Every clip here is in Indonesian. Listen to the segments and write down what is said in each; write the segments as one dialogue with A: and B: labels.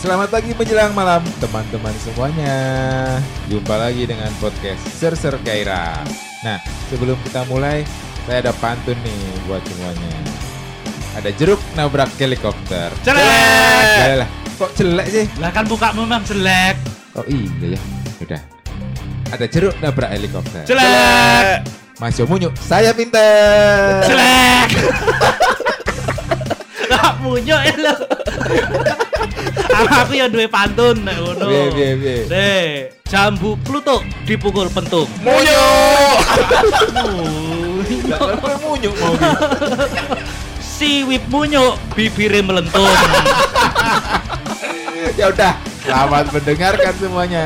A: Selamat pagi menjelang malam teman-teman semuanya. Jumpa lagi dengan podcast Serser Kaira. Nah, sebelum kita mulai, saya ada pantun nih buat semuanya. Ada jeruk nabrak helikopter.
B: Jelek.
A: Yalah, kok jelek sih?
B: Lah kan buka memang jelek.
A: Oh iya ya, udah. Ada jeruk nabrak helikopter.
B: Jelek.
A: Mas Yomunyu, saya pinter.
B: Jelek. Lah munyo ya lo. Aku yang duwe pantun nek ngono.
A: Piye, piye, piye.
B: Deh, jambu klutuk dipukul pentung.
A: Munyu.
B: Munyo.
A: Munyu mau gitu.
B: Siwip munyo bibire melentung.
A: ya udah selamat mendengarkan semuanya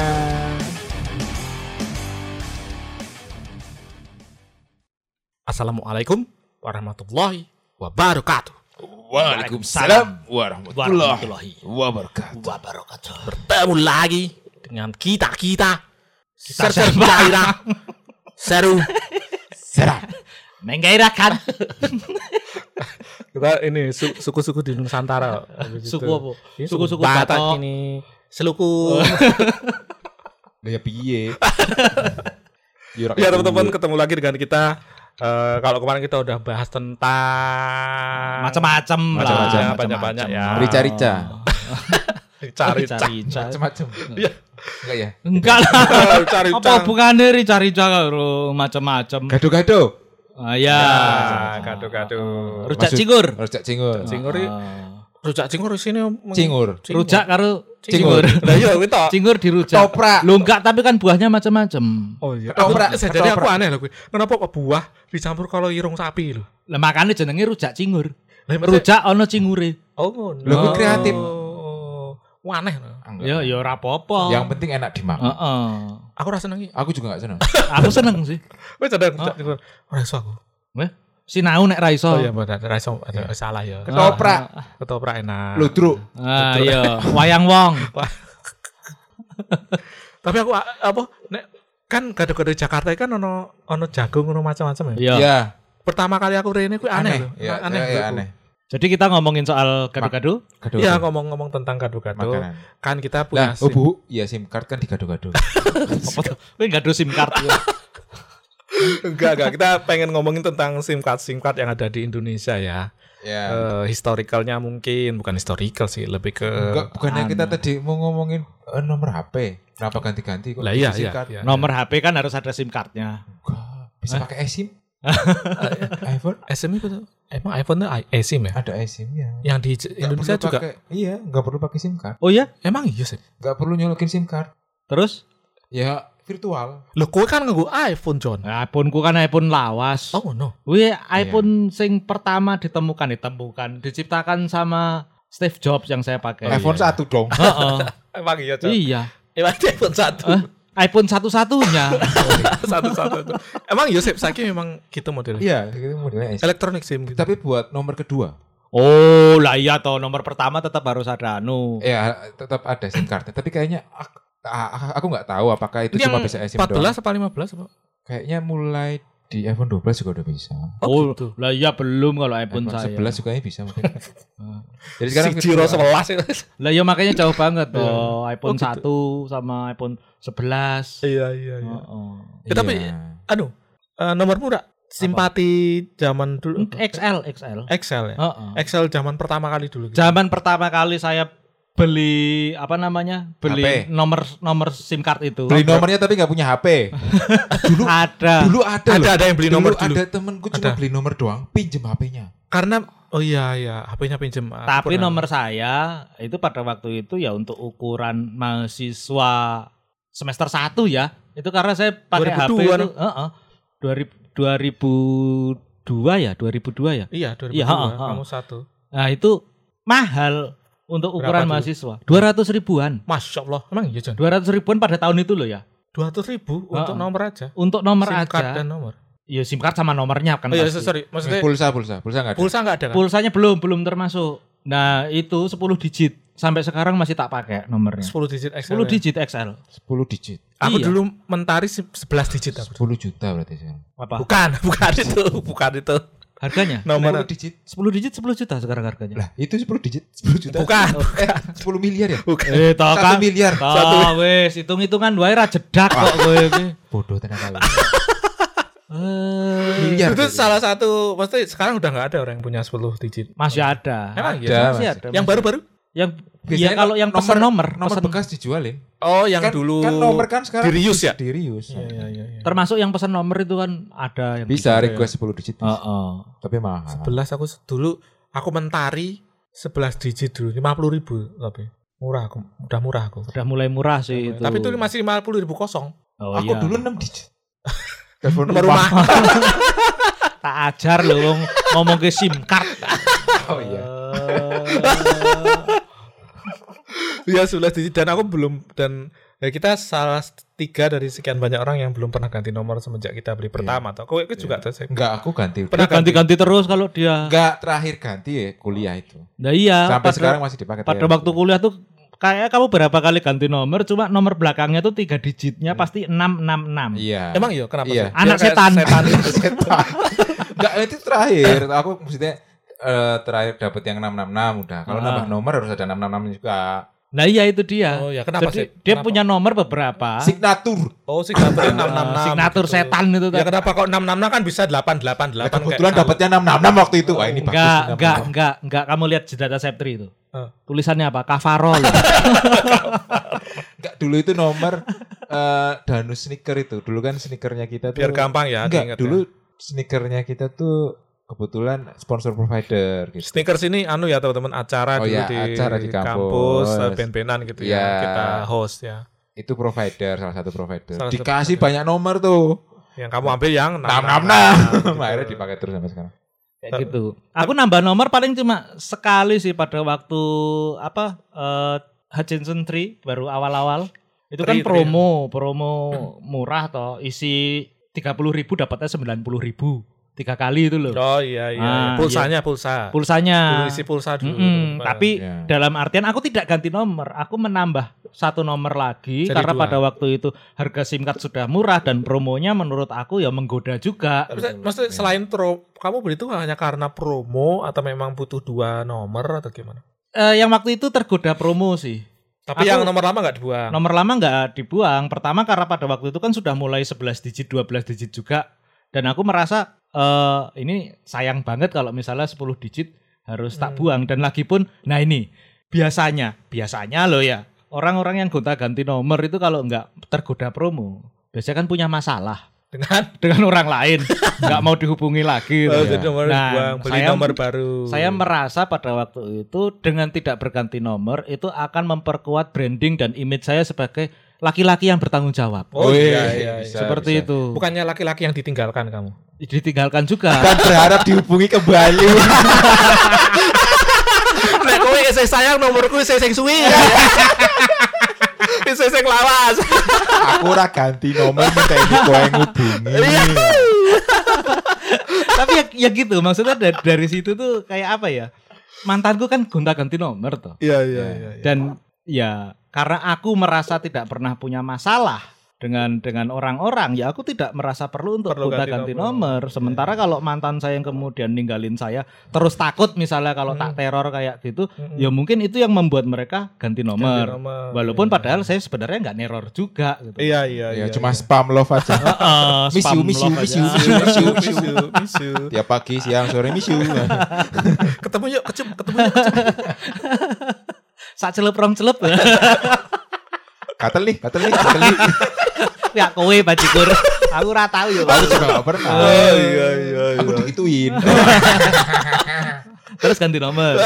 C: Assalamualaikum warahmatullahi wabarakatuh.
B: Waalaikumsalam warahmatullahi
A: wabarakatuh
B: wabarakatuh.
C: Bertemu lagi dengan kita kita
B: Kita
C: Serser
B: siapa?
C: Daerah. seru.
A: serap
B: Menggairahkan
C: Kita ini su- suku-suku di Nusantara. begitu.
B: Suku apa?
C: Ini
B: Suku-suku
C: Batak
B: Batak.
C: ini. Seluku.
A: gaya ya piye Yurak
C: ya
A: dulu.
C: teman-teman ketemu lagi dengan kita. Eh, kalau kemarin kita udah bahas tentang
A: Ah.
B: macam-macam lah.
A: Macam-macam,
C: banyak-banyak ya.
A: rica-rica
C: cari cari
B: Rica-rica.
A: macam-macam
C: Iya.
A: enggak ya
B: Enggak lah.
C: cari
B: Apa hubungannya rica-rica karo macam-macam?
A: gado-gado
B: Ah, ya.
C: kado-kado.
B: Rujak
A: Maksud-
B: cingur.
A: rujak cingur Ah.
C: Cingur ini- rujak cingur sini Om.
A: cingur
B: Rujak karo
A: Cingur.
B: cingur.
C: Lah iya kita.
B: Cingur dirujak.
A: Toprak.
B: Lu enggak tapi kan buahnya macam-macam.
C: Oh iya. Aku,
A: Ketoprak,
C: jadi aku
A: ketoprak.
C: aneh loh gue. Kenapa kok buah dicampur kalau irung sapi loh?
B: Lah makane jenenge rujak cingur.
C: Lah, maksudnya-
B: Rujak ana cingure.
C: Oh ngono.
A: Loh, gue kreatif.
C: Oh, Wah, aneh. loh.
A: Enggak.
B: Ya ya ora apa-apa.
A: yang penting enak
C: Ah.
A: dimakan
B: Heeh.
C: Aku rasa seneng iki.
A: aku juga enggak senang
B: Aku seneng sih.
C: Wes ada ora iso aku.
B: Weh, sinau nek ra iso.
C: Oh iya benar, ora iso ada salah ya.
A: ketoprak
C: Ketoprak enak.
A: ludruk
B: Ah iya, wayang wong.
C: Tapi aku a- apa nek kan gado-gado Jakarta iki kan ono ono jagung ono macam-macam ya.
B: Iya.
A: ya
C: Pertama kali aku rene kuwi aneh loh.
A: ya
C: aneh.
A: ya, ya,
C: menurutku.
A: aneh
B: Jadi kita ngomongin soal gado-gado.
A: gado
C: Iya ngomong-ngomong tentang gado-gado
A: makanan
C: kan
A: lah
C: kita punya
A: oh
C: sim-
A: bu ya sim card kan digado-gado
B: Apa tuh? Kowe gado SIM card.
C: enggak enggak kita pengen ngomongin tentang SIM card SIM card yang ada di Indonesia ya.
A: ya
C: Eh, historicalnya mungkin bukan historical sih lebih ke
A: Enggak, bukannya kita tadi mau ngomongin eh, nomor HP. Kenapa ganti-ganti kok?
C: Lah, iya,
A: SIM
C: iya,
A: card?
C: iya. Eh?
B: Nomor HP kan harus ada SIM cardnya.
A: Enggak, Bisa pakai eSIM? iPhone
C: SIM itu tuh- emang iPhone tuh i- eSIM ya
A: ada eSIM-nya.
C: yang di J-
A: Nggak
C: Indonesia
A: perlu
C: juga
A: pakai- iya, nggak perlu pakai SIM card.
B: Oh iya,
C: emang iya sih
A: Nggak perlu nyolokin SIM card.
B: terus
A: Ya virtual.
C: lo kowe kan nganggo iPhone John
B: iPhoneku kan iPhone lawas.
C: oh no
B: Wih, iPhone sing pertama ditemukan ditemukan diciptakan sama Steve Jobs yang saya
C: Oh,
B: pakai.
A: iPhone
B: Iya.
A: satu dong.
B: Heeh.
C: emang iya
B: iya.
C: emang iPhone satu
B: Eh, iPhone satu-satunya.
C: satu satu itu. emang iya sih saya memang gitu modelnya
A: iya, itu modelnya eSIM.
C: elektronik SIM gitu.
A: Tapi buat nomor kedua,
B: oh, lah iya toh nomor pertama tetap harus ada anu.
C: Eh,
A: ya tetap ada SIM card. Tapi kayaknya ak- a- aku nggak tahu apakah itu
C: Ini
A: cuma
C: yang
A: bisa ya, eSIM doang.
C: 14 apa 15 apa
A: Kayaknya mulai di iPhone 12 juga udah bisa.
B: Oh,
C: gitu.
B: lah iya belum kalau iPhone,
A: iPhone
B: saya.
A: 11 juga bisa mungkin. Eh, Jadi gitu ya.
C: si Ciro
A: virtual.
C: 11 itu
B: Lah iya makanya jauh banget toh iPhone
C: Oh, gitu.
B: satu sama iPhone 11.
C: iya iya iya
B: Heeh.
C: Ya, tapi-
A: Iya.
C: aduh eh, nomor murah simpati zaman dulu
B: XL, XL.
C: Excel ya
B: Heeh.
C: Excel zaman pertama kali dulu gitu.
B: Zaman pertama kali saya beli apa namanya? Beli
A: HP.
B: nomor nomor SIM card itu.
A: beli nomornya tapi nggak punya HP. dulu
B: ada.
A: dulu ada
C: ada
A: loh.
C: ada yang beli
A: Dulu
C: nomor dulu
A: ada temenku cuma
C: Ada.
A: beli nomor doang, pinjem HP-nya.
C: karena oh iya iya HP-nya pinjem Aku
B: Tapi
C: pernah-
B: nomor saya itu pada waktu itu ya untuk ukuran mahasiswa semester 1 ya. Itu karena saya pakai HP
C: 2002
B: itu
C: no?
B: heeh. 2000 2002 ya, 2002 ya.
C: iya 2002
B: Iya, ha, ha.
C: kamu satu
B: Nah, itu mahal untuk ukuran
C: Berapa dulu?
B: mahasiswa. 200 ribuan.
C: masya Allah emang iya John
B: 200 ribuan pada tahun itu loh ya.
C: dua ribu
B: Ha,
C: untuk
B: ha.
C: nomor aja
B: Untuk nomor
C: SIM card
B: aja.
C: dan nomor
B: Ya SIM card sama nomornya kan.
C: oh iya
B: pasti.
C: sorry maksudnya
A: pulsa pulsa, pulsa enggak ada.
C: pulsa nggak ada kan
B: Pulsanya belum, belum termasuk. Nah, itu 10 digit. Sampai sekarang masih tak pakai nomornya.
C: 10 digit
B: 10
C: Excel ya.
B: digit XL.
A: 10 digit.
C: aku
B: Iya.
C: dulu mentari se- 11 digit aku
A: 10 juta berarti sekarang.
B: Apa?
C: bukan bukan itu bukan itu
B: harganya?
A: 10 Nah,
C: Nomor
A: digit.
B: 10 digit 10 juta sekarang harganya.
A: Lah, itu 10 digit, 10 juta.
C: bukan.
A: Eh, 10 miliar ya?
C: Bukan.
B: Eh, toh
A: Satu
B: kan.
A: miliar.
B: Toh, wis hitung-hitungan wae ra jedak kok kowe iki.
A: Bodoh tenaga.
B: Eh,
A: miliar.
C: Itu salah satu maksudnya sekarang udah nggak ada orang yang punya 10 digit.
B: masih ada.
A: Ada,
C: Emang iya?
A: masih.
B: masih ada.
C: Yang baru-baru?
B: yang
A: Biasanya
B: ya kalau yang pesan nomor,
A: Nomor
B: pesan-
A: bekas dijualin.
C: Oh, yang dulu
A: kan nomor kan sekarang
C: di reuse ya?
A: Dirius.
B: Iya, termasuk yang pesan nomor itu kan ada yang
A: Bisa
B: gitu ya.
A: request 10 digit.
B: Heeh.
A: bisa. Tapi mahal.
C: 11 aku se- dulu aku mentari 11 digit dulu 50 ribu tapi murah aku udah murah aku
B: Udah mulai murah sih itu.
C: tapi itu masih 50 ribu kosong
B: Oh,
A: Aku
B: iya.
A: dulu 6 digit. Telepon
C: nomor rumah
B: tak ajar loh wong ngomong ke SIM card.
A: Oh iya.
C: ya 11 digit dan aku belum dan ya kita salah tiga dari sekian banyak orang yang belum pernah ganti nomor semenjak kita beli pertama toh. Kowe kowe juga tuh saya
A: Enggak, aku ganti.
C: pernah ganti,
B: ganti-ganti terus kalau dia.
A: Enggak terakhir ganti ya kuliah itu.
B: Nah iya.
A: Sampai
B: pada-
A: sekarang masih ya. dipakai.
B: pada waktu kuliah tuh kayak kamu berapa kali ganti nomor cuma nomor belakangnya tuh tiga digitnya pasti 666
A: Iya.
C: Emang iya kenapa
A: Iya.
C: sih? Dia
B: Anak
C: kayak
B: setan.
A: setan. Enggak itu terakhir. Aku maksudnya eh, terakhir dapat yang 666 udah. Kalau
B: Ah.
A: nambah nomor harus ada 666 juga.
B: nah iya itu dia
C: Oh, ya, kenapa
B: Jadi
C: sih?
B: dia
C: Kenapa?
B: puunya nomor beberapa Eh,
A: Signatur.
C: Oh sih gambarnya 666
B: signatur
C: gitu.
B: setan itu
C: Ya
A: Iya
B: tadi.
C: kenapa kok 666 kan bisa 888
A: Lah,
C: kayak
A: kebetulan
C: kalung.
A: dapatnya 666 waktu itu. Wah, ini bagus.
B: enggak
A: ini
B: enggak
A: 666.
B: enggak enggak kamu lihat jendela Septri itu
C: Eh.
B: tulisannya apa kafarol
A: Enggak, dulu itu nomor eh Danus sneaker itu. Dulu kan sneakernya kita tuh
C: biar gampang ya
A: Enggak,
C: diingat ya.
A: dulu sneakernya kita tuh kebetulan sponsor provider gitu.
C: Sneakers ini anu ya teman-teman acara
A: Oh
C: dulu
A: ya,
C: di,
A: acara di
C: kampus,
A: kampus.
C: band-bandan gitu
A: Iya.
C: ya kita host ya.
A: Itu provider salah satu provider.
C: Salah satu
A: Dikasih banyak nomor tuh.
C: Yang kamu ambil yang gitu.
A: 666.
C: 666.
A: Akhirnya dipakai terus sampai sekarang.
B: kayak gitu aku nambah nomor paling cuma sekali sih pada waktu apa eh, Hutchinson 3 baru awal-awal itu kan
C: Tri, tri.
B: promo promo murah toh isi 30.000 dapatnya 90.000 tiga kali itu loh
C: Oh iya
B: Ah,
C: iya. Pulsanya pulsa. Dulu
B: pulsanya
C: isi pulsa dulu. ya.
B: Mm-mm,
C: teman-teman.
B: tapi
A: Iya.
B: dalam artian aku tidak ganti nomor aku menambah satu nomor lagi
C: Jadi
B: karena
C: dua.
B: pada waktu itu harga SIM card sudah murah dan promonya menurut aku ya menggoda juga
C: Maksudnya, maksudnya
A: Iya.
C: selain pro, kamu beli itu hanya karena promo atau memang butuh dua nomor atau gimana?
B: Eh, yang waktu itu tergoda promo sih
C: Tapi
B: Aku-
C: yang nomor lama nggak dibuang.
B: Nomor lama nggak dibuang. Pertama karena pada waktu itu kan sudah mulai 11 digit, 12 digit juga. Dan aku merasa eh ini sayang banget kalau misalnya 10 digit harus tak
C: Hmm.
B: buang. Dan lagi pun, nah ini biasanya, biasanya loh ya. Orang-orang yang gonta ganti nomor itu kalau nggak tergoda promo. Biasanya kan punya masalah
C: Dengan
B: dengan orang lain. nggak mau dihubungi lagi. gitu
C: Oh,
B: ya.
C: jadi nomor
B: Nah,
C: dibuang, beli
B: saya-
C: nomor baru.
B: Saya merasa pada waktu itu dengan tidak berganti nomor itu akan memperkuat branding dan image saya sebagai laki-laki yang bertanggung jawab.
C: Oh
A: Wih,
C: iya iya. iya.
A: bisa.
B: Seperti itu.
C: Bukannya laki-laki yang ditinggalkan kamu.
B: ditinggalkan juga.
A: Dan berharap dihubungi kembali.
C: Nek kowe isih sayang nomorku isih sing suwi. Isih sing lawas.
A: Aku ora ganti nomor minta ini kowe ngubungi.
C: Iya.
B: Tapi ya, ya gitu, maksudnya dari, dari situ tuh kayak apa ya? Mantanku kan gonta-ganti nomor tuh.
C: Iya iya iya.
B: Dan ya karena aku merasa tidak pernah punya masalah dengan dengan orang-orang ya aku tidak merasa perlu untuk
C: Perlu
B: gonta ganti
C: ganti nomor. Iya.
B: nomor. Sementara kalau mantan saya yang kemudian ninggalin saya terus takut misalnya kalau tak
C: Hmm.
B: teror kayak gitu,
C: Mm-mm.
B: ya mungkin itu yang membuat mereka ganti
C: Ganti
B: nomor.
C: nomor.
B: Walaupun
C: Iya.
B: padahal saya sebenarnya nggak neror juga gitu.
C: Iya iya
A: Ya
C: iya.
A: cuma spam love aja.
B: Heeh,
A: Miss you,
B: Ah, Oh, spam
A: miss you,
B: love
A: miss
B: aja.
A: you, miss you, miss you, miss you.
C: Misu, misu.
A: Tiap pagi, siang, sore miss you.
C: Ketemu yuk, kecup, ketemu yuk.
B: Sak celup rong celup.
A: Katel nih, katel nih, katel nih.
B: ya kowe bajikur. Aku ora tahu ya. Pak.
A: Aku juga gak pernah.
C: iya iya.
A: Aku digituin.
B: Terus ganti nomor.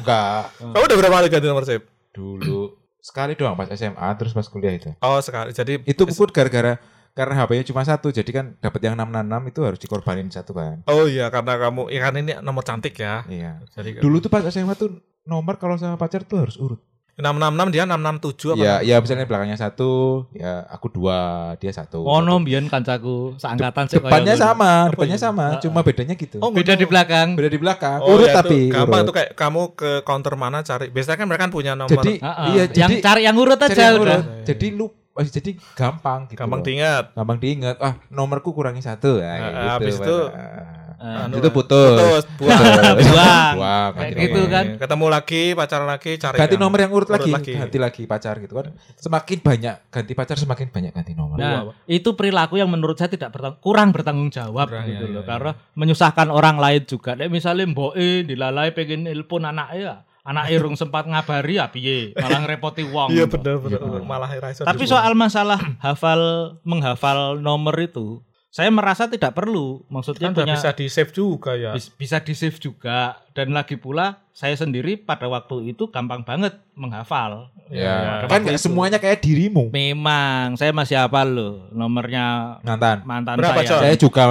A: Enggak.
C: Kamu udah berapa kali ganti nomor sip?
A: Dulu sekali doang pas SMA terus pas kuliah itu.
C: Oh sekali. Jadi
A: Itu pun gara-gara karena HP-nya cuma satu, jadi kan dapat yang 666 itu harus dikorbanin satu kan.
C: Oh iya karena kamu ya kan ini nomor cantik ya.
A: Iya.
C: Jadi
A: Dulu tuh pas SMA tuh nomor kalau sama pacar tuh harus urut.
C: 666 dia 667 apa?
A: Ya, ya misalnya belakangnya satu, ya aku dua, dia satu.
C: Oh,
B: Ono mbiyen kancaku seangkatan sih
A: Depannya
B: kaya ngono.
A: sama, depannya sama,
B: Ah,
A: cuma bedanya gitu.
C: iya, Oh,
B: Beda di belakang.
A: Beda di belakang.
C: Oh,
A: urut
C: ya, itu
A: tapi.
C: gampang
A: urut.
C: tuh kayak kamu ke counter mana cari. Biasanya kan mereka kan punya nomor.
A: Jadi,
B: Heeh.
A: iya,
B: yang
A: jadi
B: cari yang urut
A: cari
B: aja
A: yang
B: udah.
A: urut. Jadi lu oh, jadi gampang gitu.
C: gampang
A: loh.
C: diingat.
A: Gampang diingat. Ah, nomorku kurangi satu. Nah,
C: Ah,
A: kayak
C: ah, habis itu-
A: Ah.
B: Eh,
A: itu putus.
C: Putus, buang.
B: Buang.
A: Buang.
B: Kayak
A: ganti
B: gitu
A: nomor.
B: kan.
C: Ketemu lagi, pacaran lagi, cari. kan.
A: Ganti
C: yang-
A: nomor ya? yang urut,
C: Urut
A: lagi,
C: lagi.
A: ganti lagi pacar gitu kan. Semakin banyak ganti pacar semakin banyak ganti nomor. Ya.
B: Nah, itu perilaku yang menurut saya tidak bertang- kurang bertanggung jawab
C: Kurang,
B: gitu
C: ya,
B: loh,
C: ya,
B: karena menyusahkan orang lain juga. Nek misalnya mboke dilalai pengen nelpon anaknya, anaknya rung sempat ngabari ya piye, malah ngerepoti wong. gitu.
C: Iya
A: Iya,
C: benar benar.
A: benar.
C: Malah ra iso
B: Tapi
C: dibuang.
B: soal masalah hafal menghafal nomor itu, saya merasa tidak perlu. Maksudnya
C: kan udah
B: punya
C: bisa di save juga ya.
B: bis- bisa di save juga dan lagi pula saya sendiri pada waktu itu gampang banget menghafal.
A: ya.
C: Ya,
A: Kan
B: waktu
A: nggak
B: itu.
A: semuanya kayak dirimu.
B: Memang saya masih hafal loh nomornya
A: Mantan.
B: mantan
C: Berapa,
B: saya.
C: Cok?
A: Saya juga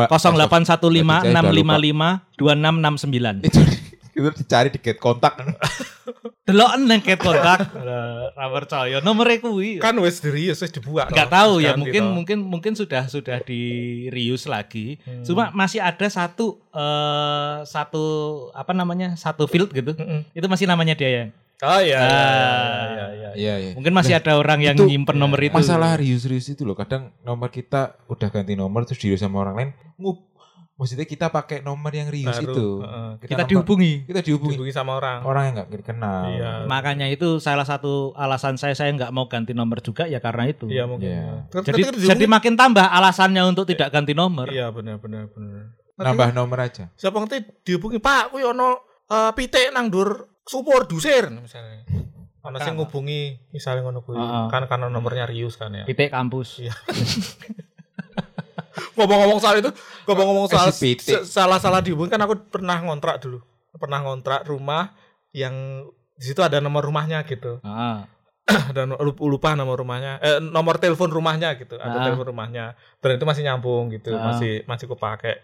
A: Saya udah lupa.
B: 0815 655 2669.
A: itu itu dicari di get kontak.
B: Delok nang ket kontak eh, Robert Coyo nomere kuwi.
C: Kan wis diri wis dibuat.
B: Enggak
C: toh.
B: Iya. tahu ya,
C: Ganti,
B: mungkin
C: toh.
B: mungkin mungkin sudah sudah di reuse lagi.
C: Hmm.
B: Cuma masih ada satu eh satu apa namanya? satu field gitu.
C: Mm-mm.
B: Itu masih namanya dia ya.
C: Oh iya. iya, iya, iya, iya.
A: Iya, iya.
B: Mungkin masih ada orang yang
A: itu
B: nyimpen nomor itu.
A: Masalah rius-rius itu loh. Kadang nomor kita udah ganti nomor terus dirius sama orang lain. Ngup. Maksudnya kita pakai nomor yang rius
C: Baru,
A: itu.
C: heeh.
B: kita
A: nomor-
B: dihubungi.
A: Kita dihubungi.
C: Dihubungi sama orang.
A: Orang yang nggak kenal.
C: Iya.
B: Makanya itu salah satu alasan saya saya nggak mau ganti nomor juga ya karena itu.
C: Iya mungkin.
A: Iya.
C: Ketika
B: Jadi
C: dihubungi-
B: jadi makin tambah alasannya untuk tidak ganti nomor.
C: Iya benar benar benar.
A: Nambah nomor aja.
C: Siapa ngerti dihubungi Pak, kuwi ono eh, pitik nang dur supur dusir misalnya. Ono sing ngubungi misalnya ngono kuwi.
B: Heeh.
C: Kan karena nomornya Rius kan ya.
B: Pitik kampus.
C: Iya. Ngomong-ngomong soal itu, ngomong-ngomong
B: Eh,
C: soal
A: Si pitik.
C: se- salah-salah dihubungi kan aku pernah ngontrak dulu. Pernah ngontrak rumah yang di situ ada nomor rumahnya gitu.
B: Ah,
C: Ada no- lup- lupa nomor rumahnya, eh, nomor telepon rumahnya gitu. Ada
B: Ah.
C: telepon rumahnya. Dan itu masih nyambung gitu,
B: Ah.
C: masih masih kupake.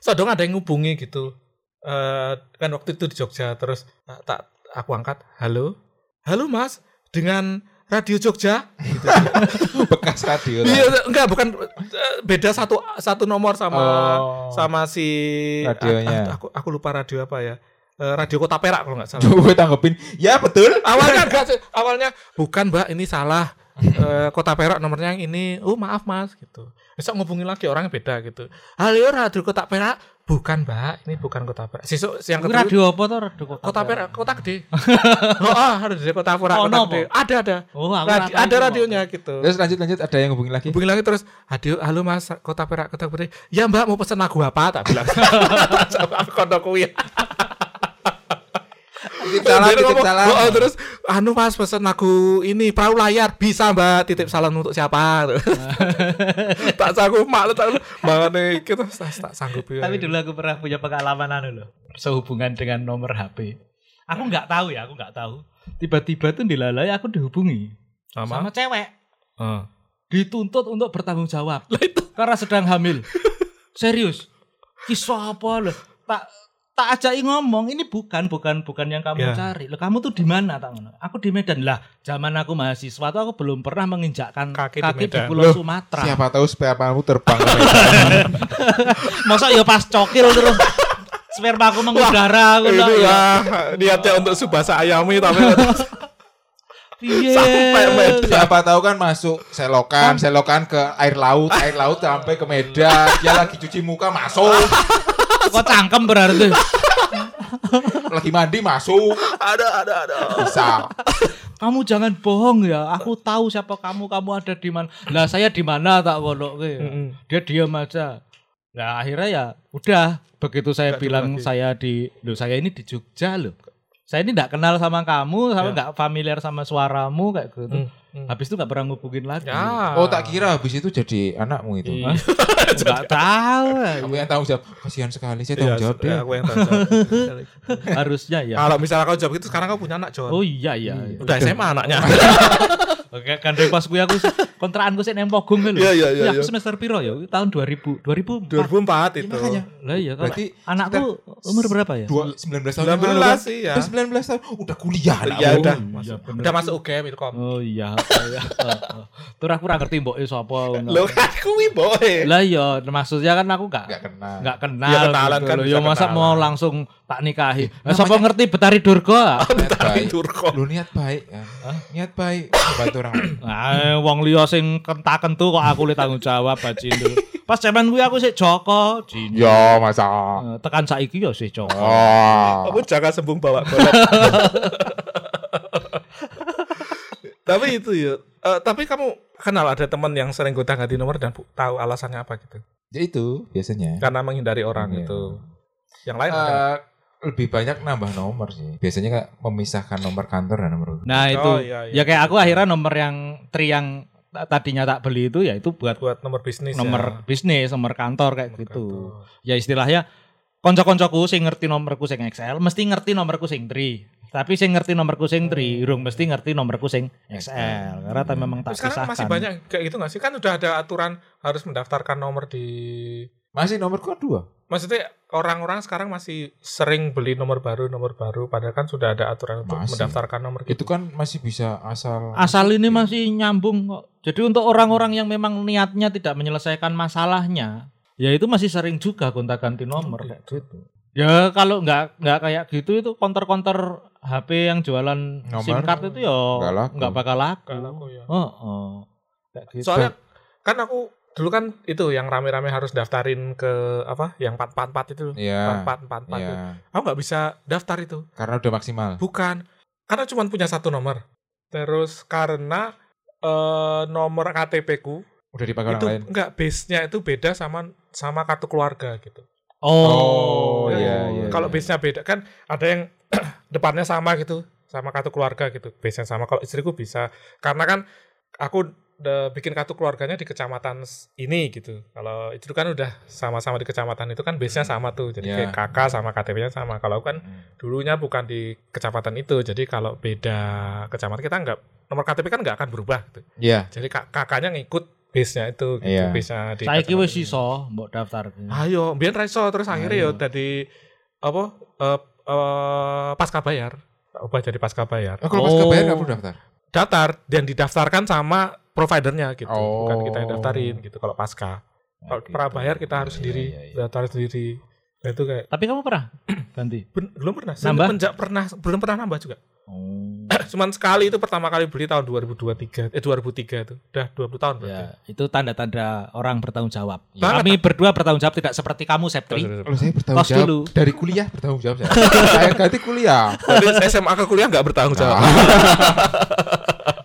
C: Sodong ada yang ngubungi gitu. Eh kan waktu itu di Jogja terus tak tak- aku angkat, "Halo. Halo Mas, dengan Radio Jogja?" gitu.
A: Bekas radio. lah.
C: Iya, enggak bukan eh, beda satu satu nomor sama
A: Oh.
C: sama si
A: Radionya.
C: Ah, aku aku lupa radio apa ya. Eh, radio Kota Perak kalau nggak salah.
A: Coba tanggepin. Ya betul.
C: awalnya enggak sih, awalnya bukan Mbak, ini salah. Eh, Kota Perak nomornya yang ini. Oh, maaf Mas gitu. Besok ngubungin lagi orangnya beda gitu. Halo Radio Kota Perak, bukan Mbak, ini bukan Kota Perak. Sesuk yang
B: Itu
C: kedua
B: radio apa tuh? Radio kota,
C: Kota Perak, Kota Gede. oh, oh, Radio Kota Perak,
B: Oh,
C: Kota
B: nopo?
C: Gede. Ada ada.
B: Oh, aku
C: Radi-
B: nggak tahu
C: ada
B: itu,
C: radionya gitu.
A: Terus lanjut lanjut ada yang ngubungin lagi.
C: Hubungi lagi terus, aduh, halo mas, kota Perak, kota Perak. Ya mbak, mau pesen lagu apa? Tak bilang. Tak jawab, kondo kuwi.
A: Titip salam,
C: Dia
A: titip
C: ngomong,
A: salam.
C: "Oh, oh, terus, anu mas, pesen lagu ini, perahu layar, bisa mbak, titip salam untuk siapa? tak sanggup, mak, tak Makanya kita tak tak sanggup.
B: Pak.
C: ya.
B: Tapi dulu aku pernah punya pengalaman anu loh. Sehubungan dengan nomor HP. Aku nggak tahu ya, aku nggak tahu. Tiba-tiba tuh dilalai aku dihubungi
C: Ah,
B: sama cewek.
C: Eh.
B: Dituntut untuk bertanggung jawab. Karena sedang hamil. Serius. Kisah apa loh? Tak tak ajai ngomong ini bukan bukan bukan yang kamu
C: Ya.
B: cari. Loh, kamu tuh di mana tak ngono? Aku di Medan lah. Zaman aku mahasiswa tuh aku belum pernah menginjakkan
C: Kaki
B: kaki, di,
C: di Medan.
B: Pulau
A: Loh,
B: Sumatera.
A: Siapa tahu spermamu terbang.
B: Masa ya pas cokil terus sperma aku mengudara aku
C: Ini
B: lah ya.
C: lah, niatnya untuk subasa ayami, tapi
B: Piye?
C: Sampai Medan.
A: Siapa tahu kan masuk selokan, selokan ke air laut, air laut sampai ke Medan. Dia lagi cuci muka masuk,
B: Kok cangkem berarti.
A: lagi mandi masuk.
C: ada, ada, ada.
A: Bisa.
B: Kamu jangan bohong ya. Aku tahu siapa kamu. Kamu ada di mana. Lah saya di mana tak wolok
C: Mm-mm.
B: Dia diam aja. Nah akhirnya ya udah. Begitu saya
C: Nggak
B: bilang
C: diulangi.
B: saya di loh saya ini di Jogja loh. Saya ini nggak kenal sama kamu, sama
C: Ya.
B: nggak familiar sama suaramu kayak gitu.
C: Mm, mm.
B: Habis itu nggak pernah ngubungin lagi.
C: Ya.
A: Oh tak kira habis itu jadi anakmu itu.
C: Iya.
A: Hah?
B: Nggak tahu.
A: Kamu yang tanggung jawab. Kasihan sekali saya
C: Iya,
A: tanggung jawab deh.
C: ya, aku yang tanggung jawab.
B: Harusnya ya.
C: Kalau misalnya kau jawab gitu sekarang kau punya anak John.
B: Oh iya iya. iya.
C: Udah SMA anaknya.
B: Oke, kan dari pas gue aku kontrakan gue sih nempel gong lho.
C: Iya, iya, iya,
B: Aku
C: iya.
B: semester piro ya? Tahun 2000, 2004.
C: 2004 itu.
A: Makanya
B: Lah iya kalau
A: Berarti
B: anakku umur berapa ya?
A: dua, 19 tahun. yang
C: 19
A: lalu kan?
C: iya.
A: Terus 19 tahun udah kuliah.
C: Ya
A: anakmu.
B: iya,
C: udah, masuk.
B: bener.
C: udah masuk UGM Ilkom.
B: Oh iya, Tur aku ora ngerti mbok e sapa ngono.
D: Lo kan kuwi boy.
B: Lah iya maksudnya kan aku gak
A: Gak kenal.
B: nggak kenal.
D: Ya, kenalan
B: gitu
D: kan
B: loh.
D: bisa
B: Ya masa
D: kenalan.
B: mau langsung tak nikahi. Lah sapa ngerti Betari Durga?
A: Niat
D: Tapi
A: baik.
D: Durko.
A: Lu niat baik. kan? Niat baik. Bantu orang. lain.
B: Ah, wong liya sing kentak-kentu kok aku le tanggung jawab bajindu. Pas zaman kuwi aku sik Joko, Jin.
A: Ya masa.
B: Eh, Tekan saiki ya sik Joko.
A: Oh.
D: Kamu jaga sembung bawa golok.
C: tapi itu ya. Eh, tapi kamu kenal ada teman yang sering gonta ganti nomor dan bu- tahu alasannya apa gitu?
A: Ya itu biasanya.
C: Karena menghindari orang
A: Iya.
C: itu. Yang lain ada.
A: Eh, lebih banyak nambah nomor sih. Biasanya kak memisahkan nomor kantor dan nomor
B: Nah, itu.
C: Oh, iya,
B: Ya
C: iya.
B: kayak aku akhirnya nomor yang tri yang ta- tadinya tak beli itu ya itu buat
C: buat nomor bisnis.
B: nomor bisnis, nomor kantor kayak
C: ya.
B: gitu. Ya istilahnya konco-koncoku sing ngerti nomorku sing XL mesti ngerti nomorku sing tri. Tapi sing ngerti nomorku sing tri,
C: Oh.
B: urung mesti ngerti nomorku sing XL. Karena ta- memang tak
C: Tapi sekarang
B: pisahkan.
C: masih banyak kayak gitu nggak sih? Kan udah ada aturan harus mendaftarkan nomor di.
A: Masih nomor kok dua?
C: Maksudnya orang-orang sekarang masih sering beli nomor baru, nomor baru. Padahal kan sudah ada aturan untuk
A: Masih.
C: mendaftarkan nomor gitu.
A: Itu kan masih bisa asal.
B: Asal ini masih nyambung kok. Jadi untuk orang-orang yang memang niatnya tidak menyelesaikan masalahnya, ya itu masih sering juga gonta-ganti nomor kayak gitu. Ya kalau nggak nggak kayak gitu itu konter-konter HP yang jualan
A: Nomor
B: SIM card itu ya
A: nggak laku.
B: nggak bakal laku.
C: Kalau aku ya.
B: Oh, oh. Kayak gitu.
C: Soalnya kan aku dulu kan itu yang rame-rame harus daftarin ke apa? Yang 444 itu.
A: Ya.
C: 4444 itu.
A: Ya.
C: Aku nggak bisa daftar itu.
A: Karena udah maksimal.
C: Bukan. Karena cuma punya satu nomor. Terus karena eh, nomor KTP ku
A: Udah dipakai orang
C: itu
A: lain.
C: enggak base-nya itu beda sama sama kartu keluarga gitu.
A: Oh, iya, iya,
C: Kalau
A: iya.
C: base-nya beda kan ada yang depannya sama gitu, sama kartu keluarga gitu. Base-nya sama kalau istriku bisa karena kan aku udah bikin kartu keluarganya di kecamatan s- ini gitu. Kalau itu kan udah sama-sama di kecamatan itu kan base-nya sama tuh. Jadi
A: Ya.
C: kayak kakak sama KTP-nya sama. Kalau aku kan
A: Hmm.
C: dulunya bukan di kecamatan itu jadi kalau beda kecamatan kita nggak nomor KTP kan nggak akan berubah gitu.
A: Iya.
C: jadi kak- kakaknya ngikut base nya itu gitu
A: Iya.
C: base nya di
B: Saiki
C: kecamatan
B: wis
C: ini.
B: iso mbok daftar.
C: ayo biar reso terus
D: Ah,
C: akhirnya ya
D: iya.
A: Ayo.
C: tadi apa eh eh, pasca bayar Tak ubah jadi pasca bayar
A: Oh, kalau pas kebayar nggak
B: Oh.
A: perlu daftar.
C: daftar dan didaftarkan sama providernya gitu bukan
A: Oh.
C: kita yang daftarin gitu kalau pasca
D: Oh,
C: kalau
A: Nah,
C: prabayar
A: gitu.
C: kita harus
A: Iya,
C: sendiri
A: iya, iya.
C: daftar sendiri Nah, itu kayak
B: Tapi kamu pernah ganti?
C: ben- belum pernah
B: Nambah?
C: Semenjak pernah belum pernah nambah juga
B: Oh.
C: cuman sekali itu pertama kali beli tahun 2023 eh 2003 itu udah 20 tahun
D: Iya.
C: berarti
B: Ya, itu tanda-tanda orang bertanggung jawab. Ya,
C: Banget. Oh,
B: Kami berdua bertanggung jawab tidak seperti kamu, Septri.
A: Kalau saya bertanggung
B: Tos
A: jawab
B: dulu.
A: dari kuliah bertanggung jawab saya. saya ganti kuliah. Kan
C: Berarti saya SMA ke kuliah nggak bertanggung jawab
D: Ah,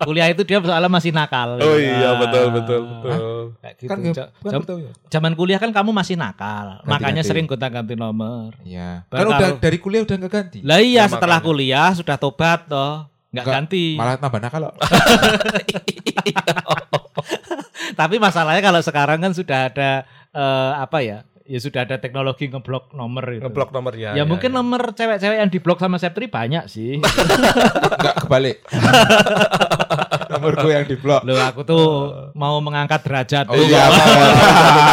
B: Kuliah itu dia soalnya masih nakal.
D: Oh iya
B: Ah.
D: betul betul betul.
B: Kayak gitu.
A: Kan nggak-
B: Ja-
A: bukan
B: jam-
A: bertanggung jawab.
B: zaman kuliah kan kamu masih nakal,
A: Ganti-ganti.
B: makanya sering gonta-ganti nomor.
A: Iya. Kan
B: Baru
A: udah
B: tahu.
A: dari kuliah udah nggak ganti.
B: Lah iya,
C: Ya,
B: setelah
C: makanya.
B: kuliah sudah tobat toh, nggak
A: Nggak,
B: ganti.
A: Malah tambah nakal loh.
B: Tapi masalahnya kalau sekarang kan sudah ada eh, apa ya? Ya sudah ada teknologi ngeblok nomor itu.
C: ngeblok nomor ya
B: Ya, mungkin nomor cewek-cewek yang diblok sama Septri banyak sih.
A: Enggak kebalik. Nomor gue yang diblok.
B: Loh aku tuh mau mengangkat derajat.
A: Oh iya.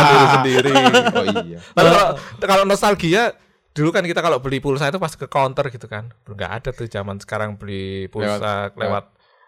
D: Diri sendiri.
A: Oh iya.
C: Tapi kalau kalau nostalgia dulu kan kita kalau beli pulsa itu pas ke counter gitu kan nggak ada tuh zaman sekarang beli pulsa lewat, bank lewat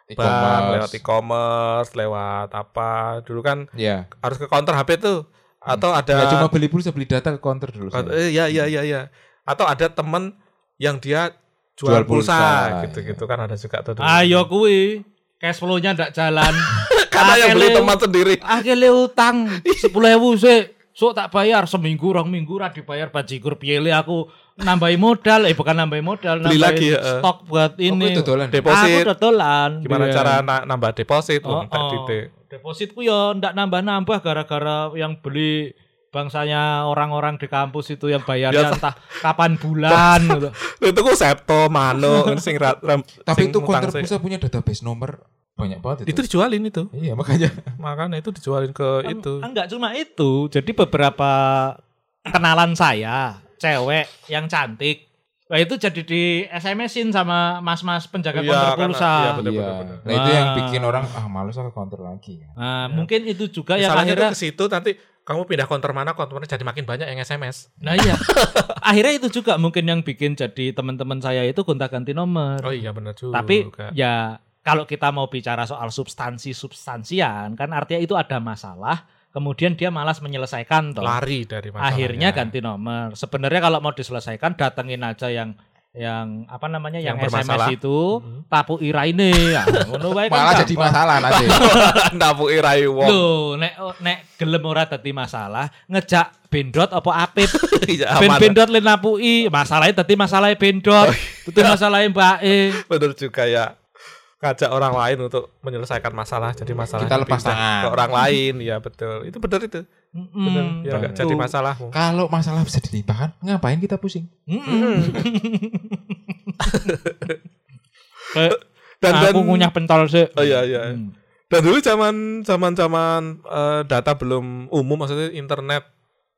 A: E-commerce.
C: e-commerce lewat apa dulu kan
A: Iya.
C: harus ke counter HP tuh atau ada
A: Nggak Ya, cuma beli pulsa beli data ke counter dulu.
C: Atau-
A: saya.
C: eh, ya ya ya ya. Atau ada temen yang dia
A: Jual
C: jual,
A: pulsa,
C: pulsa, gitu-gitu kan ada juga tuh. dulu.
B: Ayo kuwi, cash flow-nya ndak jalan.
C: karena yang beli Iya.
B: Akhirnya-
C: teman sendiri.
B: Akhirnya utang 10.000 sik. Sok tak bayar seminggu, rong minggu ra dibayar bajigur piye le aku nambahi modal, eh bukan nambahi modal, nambahi
C: Beli lagi, ya, eh.
B: stok buat ini.
A: itu dolan.
C: Deposit.
B: Aku dodolan.
C: Gimana
B: Iya.
C: cara na- nambah deposit?
B: Oh,
C: Oh, entek
B: oh.
C: titik.
B: Depositku ya ndak nambah-nambah gara-gara yang beli bangsanya orang-orang di kampus itu yang bayarnya
C: Biasa.
B: entah kapan bulan gitu.
C: Itu ku septo, mano, sing ra- rem-
A: Tapi
C: sing
A: itu
C: ngutang
A: counter
C: sih.
A: pulsa punya database nomor banyak banget
C: itu Eh.
A: itu.
C: dijualin itu.
A: Iya makanya.
C: Makanya itu dijualin ke
B: Kan
C: itu.
B: Enggak cuma itu. Jadi beberapa kenalan saya, cewek yang cantik. Wah itu jadi di SMS-in sama mas-mas penjaga
C: Iya,
B: konter
C: karena-
B: pulsa.
C: iya, betul.
A: Iya.
C: bener.
A: Nah itu yang
B: Wah.
A: bikin orang ah malu sama counter lagi.
C: Iya.
B: Nah, mungkin itu juga yang
C: Salahnya
B: akhirnya
C: tuh ke situ nanti kamu pindah konter mana, konternya jadi makin banyak yang SMS.
B: Nah iya. akhirnya itu juga mungkin yang bikin jadi teman-teman saya itu gonta-ganti nomor.
C: Oh iya benar juga.
B: Tapi ya kalau kita mau bicara soal substansi-substansian kan artinya itu ada masalah, kemudian dia malas menyelesaikan toh.
C: lari dari masalahnya.
B: Akhirnya ganti nomor. Sebenarnya kalau mau diselesaikan datengin aja yang yang apa namanya yang,
C: Yang bermasalah. Mm-hmm.
B: SMS itu tapu iraine ya. Ngono wae kan
A: Malah jadi
B: gampang.
A: masalah nanti.
D: Napu irai wong.
B: Loh, nek nek gelem ora dadi masalah, ngejak bendot apa apip?
D: Iya,
B: Ben
D: aman.
B: bendot le napui, masalahnya dadi masalahe
C: Oh,
B: bendot,
C: iya.
B: dadi masalahe E. mbake.
C: Bener juga ya. Ngajak orang lain untuk menyelesaikan masalah. Jadi masalah
A: Kita lepas tangan.
C: ke orang lain, ya betul. Itu bener itu. Bener.
B: Mm-mm.
C: Ya nggak
A: betul.
C: jadi masalahmu.
A: Kalau masalah bisa dilimpahkan, ngapain kita pusing?
B: Mm-mm. Kayak
C: Dan dan
B: aku ngunyah pentol sih.
C: Oh, iya, iya.
B: Hmm.
C: dan dulu zaman zaman zaman eh, data belum umum, maksudnya internet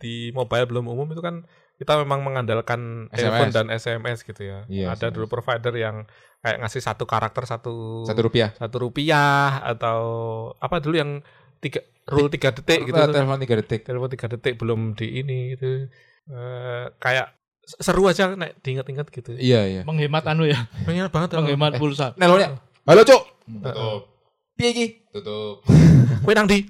C: di mobile belum umum itu kan kita memang mengandalkan
A: SMS.
C: telepon dan SMS gitu ya.
A: Iya,
C: Ada
A: SMS.
C: dulu provider yang kayak ngasih satu karakter satu
A: Satu rupiah.
C: satu rupiah atau apa dulu yang tiga rule tiga detik gitu
A: Eh, Telepon tiga detik.
C: telepon tiga detik belum di ini gitu Eh, kayak seru aja nek diingat-ingat gitu
A: Iya iya.
B: Menghemat anu ya,
C: pengen banget tau
B: menghemat pulsa.
A: Nelponnya. Halo cok. Tutup. Piye iki? Tutup.
C: kue nang di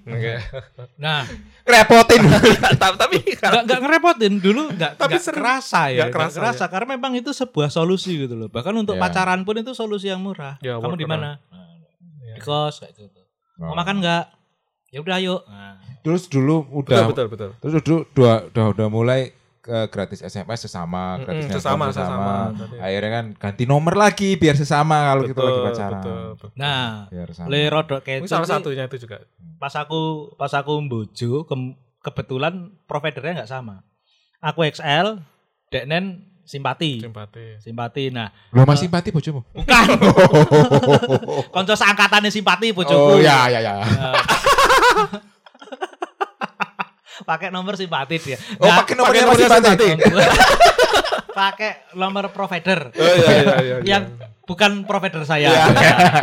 B: Nah,
A: Repotin.
C: Oh. Ta- tapi
B: nggak nggak ngerepotin dulu nggak
C: Tapi
B: nggak
C: seru.
B: kerasa ya
C: Nggak
B: nggak
C: kerasa,
B: kerasa, karena memang itu sebuah solusi gitu loh bahkan untuk
A: Ya.
B: pacaran pun itu solusi yang murah
C: Ya,
B: kamu
C: work
B: di mana
C: Ya.
B: di kos kayak gitu mau makan nggak ya udah yuk Nah,
A: Terus dulu
C: betul
A: udah
C: betul betul
A: Terus dulu dua, udah, udah mulai ke gratis SMS sesama,
C: Mm-mm,
A: gratis sesama,
C: sesama,
A: sesama.
C: sesama.
A: Akhirnya kan ganti nomor lagi biar sesama kalau kita lagi pacaran.
C: betul, betul.
B: nah
A: Biar Ya, sama.
B: le rodok kenceng
C: Ini salah
B: sih,
C: satunya itu juga
B: pas aku pas aku bojo ke- kebetulan providernya nggak sama aku XL Deknen simpati
C: simpati
B: simpati nah
A: Lo masih simpati bojomu?
B: bukan konco seangkatannya simpati bojoku
A: Oh ya ya ya.
B: Nah. pakai nomor simpati dia
A: Oh
B: Nah,
A: pakai nomornya
C: pakai
A: masih
C: nomornya
A: simpati.
B: pakai nomor provider
C: oh iya iya iya, iya.
B: yang bukan provider saya Ya,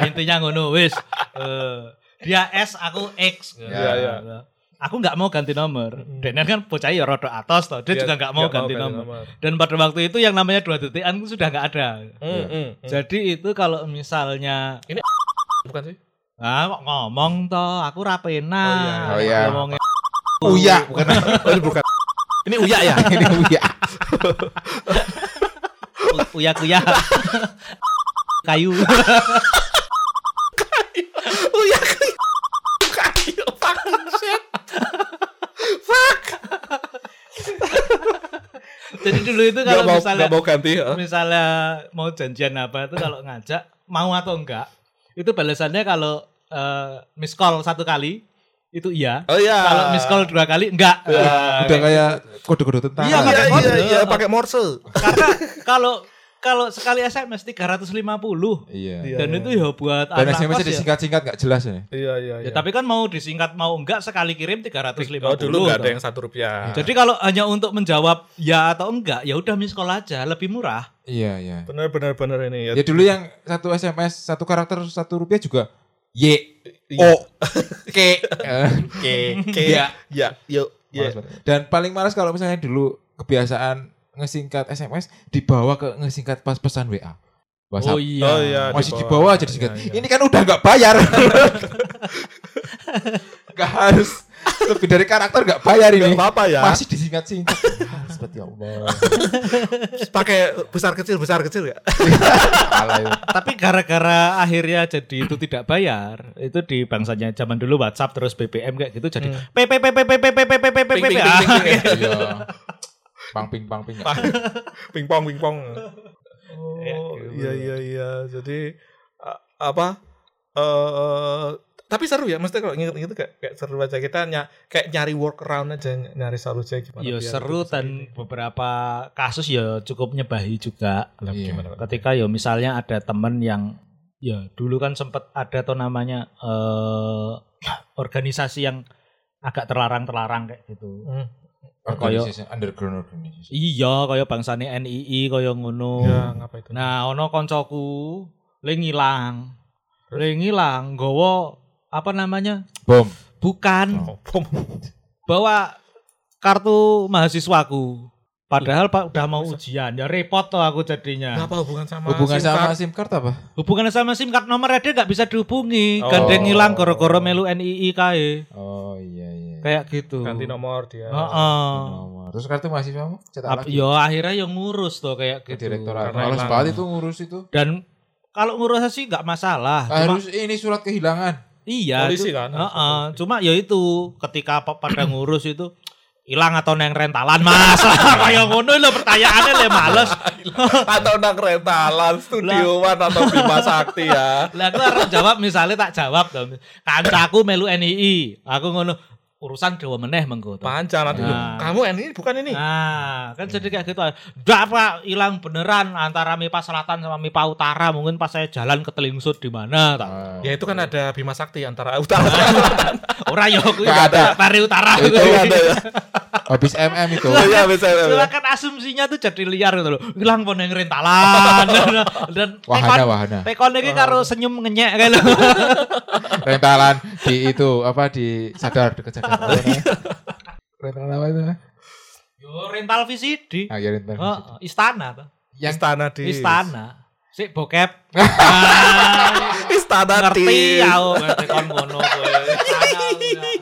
B: intinya ngono wis Eh, dia S aku X Nah,
A: Ya,
C: ya.
B: aku nggak mau ganti nomor Denen kan bocah ya rodok atas toh
C: Iya,
B: dia, juga nggak mau ganti nomor dan pada waktu itu yang namanya dua detikan sudah nggak ada
C: Hmm, hmm, hmm.
B: jadi itu kalau misalnya
C: bukan sih
B: ah kok ngomong toh aku rapena
A: Oh, iya.
B: ngomongin
A: Uya bukan
C: oh, ini bukan ini uya ya
A: ini Uya.
B: U- uya kuya kayu
C: uya kayu fucking shit fuck
B: jadi dulu itu
C: nggak
B: kalau
C: mau
B: misalnya
C: nggak mau ganti ya.
B: misalnya mau janjian apa itu kalau ngajak mau atau enggak itu balasannya kalau eh, miss call satu kali itu iya
C: oh iya
B: kalau miss call dua kali enggak Eh,
A: Udah kayak kode-kode tentara.
B: Iya,
C: iya
B: pakai
C: iya
B: morse.
C: iya pakai morse
B: karena kalau kalau sekali SMS 350
A: Iya.
C: Iya.
B: dan itu ya buat
A: Dan
B: anak
A: SMS
B: kos ya.
A: disingkat-singkat nggak jelas ya.
C: iya iya
B: Ya, tapi kan mau disingkat mau enggak sekali kirim 350
C: oh dulu nggak
B: toh.
C: ada yang satu rupiah
B: jadi kalau hanya untuk menjawab ya atau enggak ya udah miss call aja lebih murah
A: Iya iya.
C: bener bener bener ini ya
A: Ya dulu yang satu SMS satu karakter satu rupiah juga Y
C: Iya. Oh,
A: O K Eh, K
B: Iya.
A: Ya.
C: ya Iya. yuk
A: Males banget. Dan paling males kalau misalnya dulu kebiasaan ngesingkat SMS dibawa ke ngesingkat pas pesan WA. WhatsApp.
B: iya
C: Oh iya.
A: Masih dibawa
C: dibawa.
A: aja disingkat.
C: Iya, iya.
A: Ini kan udah nggak bayar. Gak harus lebih dari karakter nggak bayar ini.
C: apa ya
A: Masih disingkat-singkat. Males banget, ya Allah.
C: pakai besar kecil besar kecil ya
A: Salah ya, itu.
B: Tapi gara-gara akhirnya jadi itu tidak bayar, itu di bangsanya zaman dulu WhatsApp terus BBM kayak gitu jadi p p p p p p p p p p p p p
A: Iya. Pangping pangping.
C: pingpong pingpong oh iya iya iya jadi a- apa eh tapi seru ya maksudnya kalau inget gitu kayak, kayak seru aja kita ny- kayak nyari workaround aja ny- nyari solusinya gimana
B: Ya
C: biar
B: seru
C: itu bisa ini.
B: dan beberapa kasus ya cukup nyebahi juga.
C: Lah,
A: Iya.
C: gimana Pak?
B: Ketika ya misalnya ada temen yang ya dulu kan sempat ada tuh namanya eh organisasi yang agak terlarang-terlarang kayak gitu.
C: Hmm.
A: Organisasi underground organisasi.
B: Iya, kayak bangsane NII kayak ngono.
C: ya ngapa itu
B: Nah, ono koncoku le ngilang. Le ngilang nggawa apa namanya?
A: Bom.
B: Bukan
C: Nah,
B: hmm.
C: Oh, bom.
B: bawa kartu mahasiswaku. Padahal Pak udah mau ujian, ya repot tuh aku jadinya.
C: Apa hubungan sama
A: Hubungan
C: SIM
A: sama
C: card?
A: SIM card apa?
B: Hubungannya sama SIM card nomor dia nggak bisa dihubungi,
A: Oh.
B: gandeng hilang gara-gara melu NII kae.
A: Oh iya iya.
B: Kayak gitu.
C: ganti nomor dia.
B: Heeh.
A: Nomor. Terus kartu mahasiswa kamu cetak
B: Ap-
A: lagi
B: Yo akhirnya yang ngurus tuh kayak
A: ke
B: gitu.
A: direktorat.
C: Karena
A: Males
C: hilang.
A: banget itu ngurus itu.
B: Dan kalau ngurus sih nggak masalah. Nah, Cuma-
A: Harus ini surat kehilangan.
B: Iya,
C: Polisi
B: cu-
C: kan,
B: Heeh,
C: harus
B: cuma ya itu ketika pa- pada ngurus itu hilang atau neng rentalan mas kayak ngono lo pertanyaannya le males
D: atau nang rentalan studioan atau Bima Sakti ya.
B: lah aku harus jawab misalnya tak jawab dong kancaku melu NII aku ngono urusan dewa meneh mengko toh.
C: Panjang nanti loh,
B: Nah.
C: Kamu yang ini bukan ini.
B: nah kan jadi kayak gitu dah pak hilang beneran antara MIPA Selatan sama MIPA Utara mungkin pas saya jalan ke Telingsut di mana tak
C: Ya itu kan ada Bima Sakti antara utara
B: Nah,
C: sama selatan.
B: ora yo aku
A: Nggak ada.
B: Pari Utara
A: Itu
B: aku.
A: ada ya.
C: Iya,
A: Habis MM itu.
D: Oh iya bisa. bisa, bisa.
B: Cuma kan asumsinya tuh jadi liar gitu loh. Hilang pon yang rentalan. Dan
A: Wahana wahana.
B: Tekon ini karo senyum ngenyek kayak gitu. lho.
A: Rentalan di itu apa di sadar dekat sadar. Apa namanya? Rentalan apa itu?
B: Yo rental VCD.
A: Nah, ya rental.
B: Oh, istana tuh.
A: Yang
C: istana di
B: Istana. Sik bokep. Ah,
D: Istana
B: Ngerti
D: Tis.
B: ya oh, tekon ngono kowe. Istana, udah.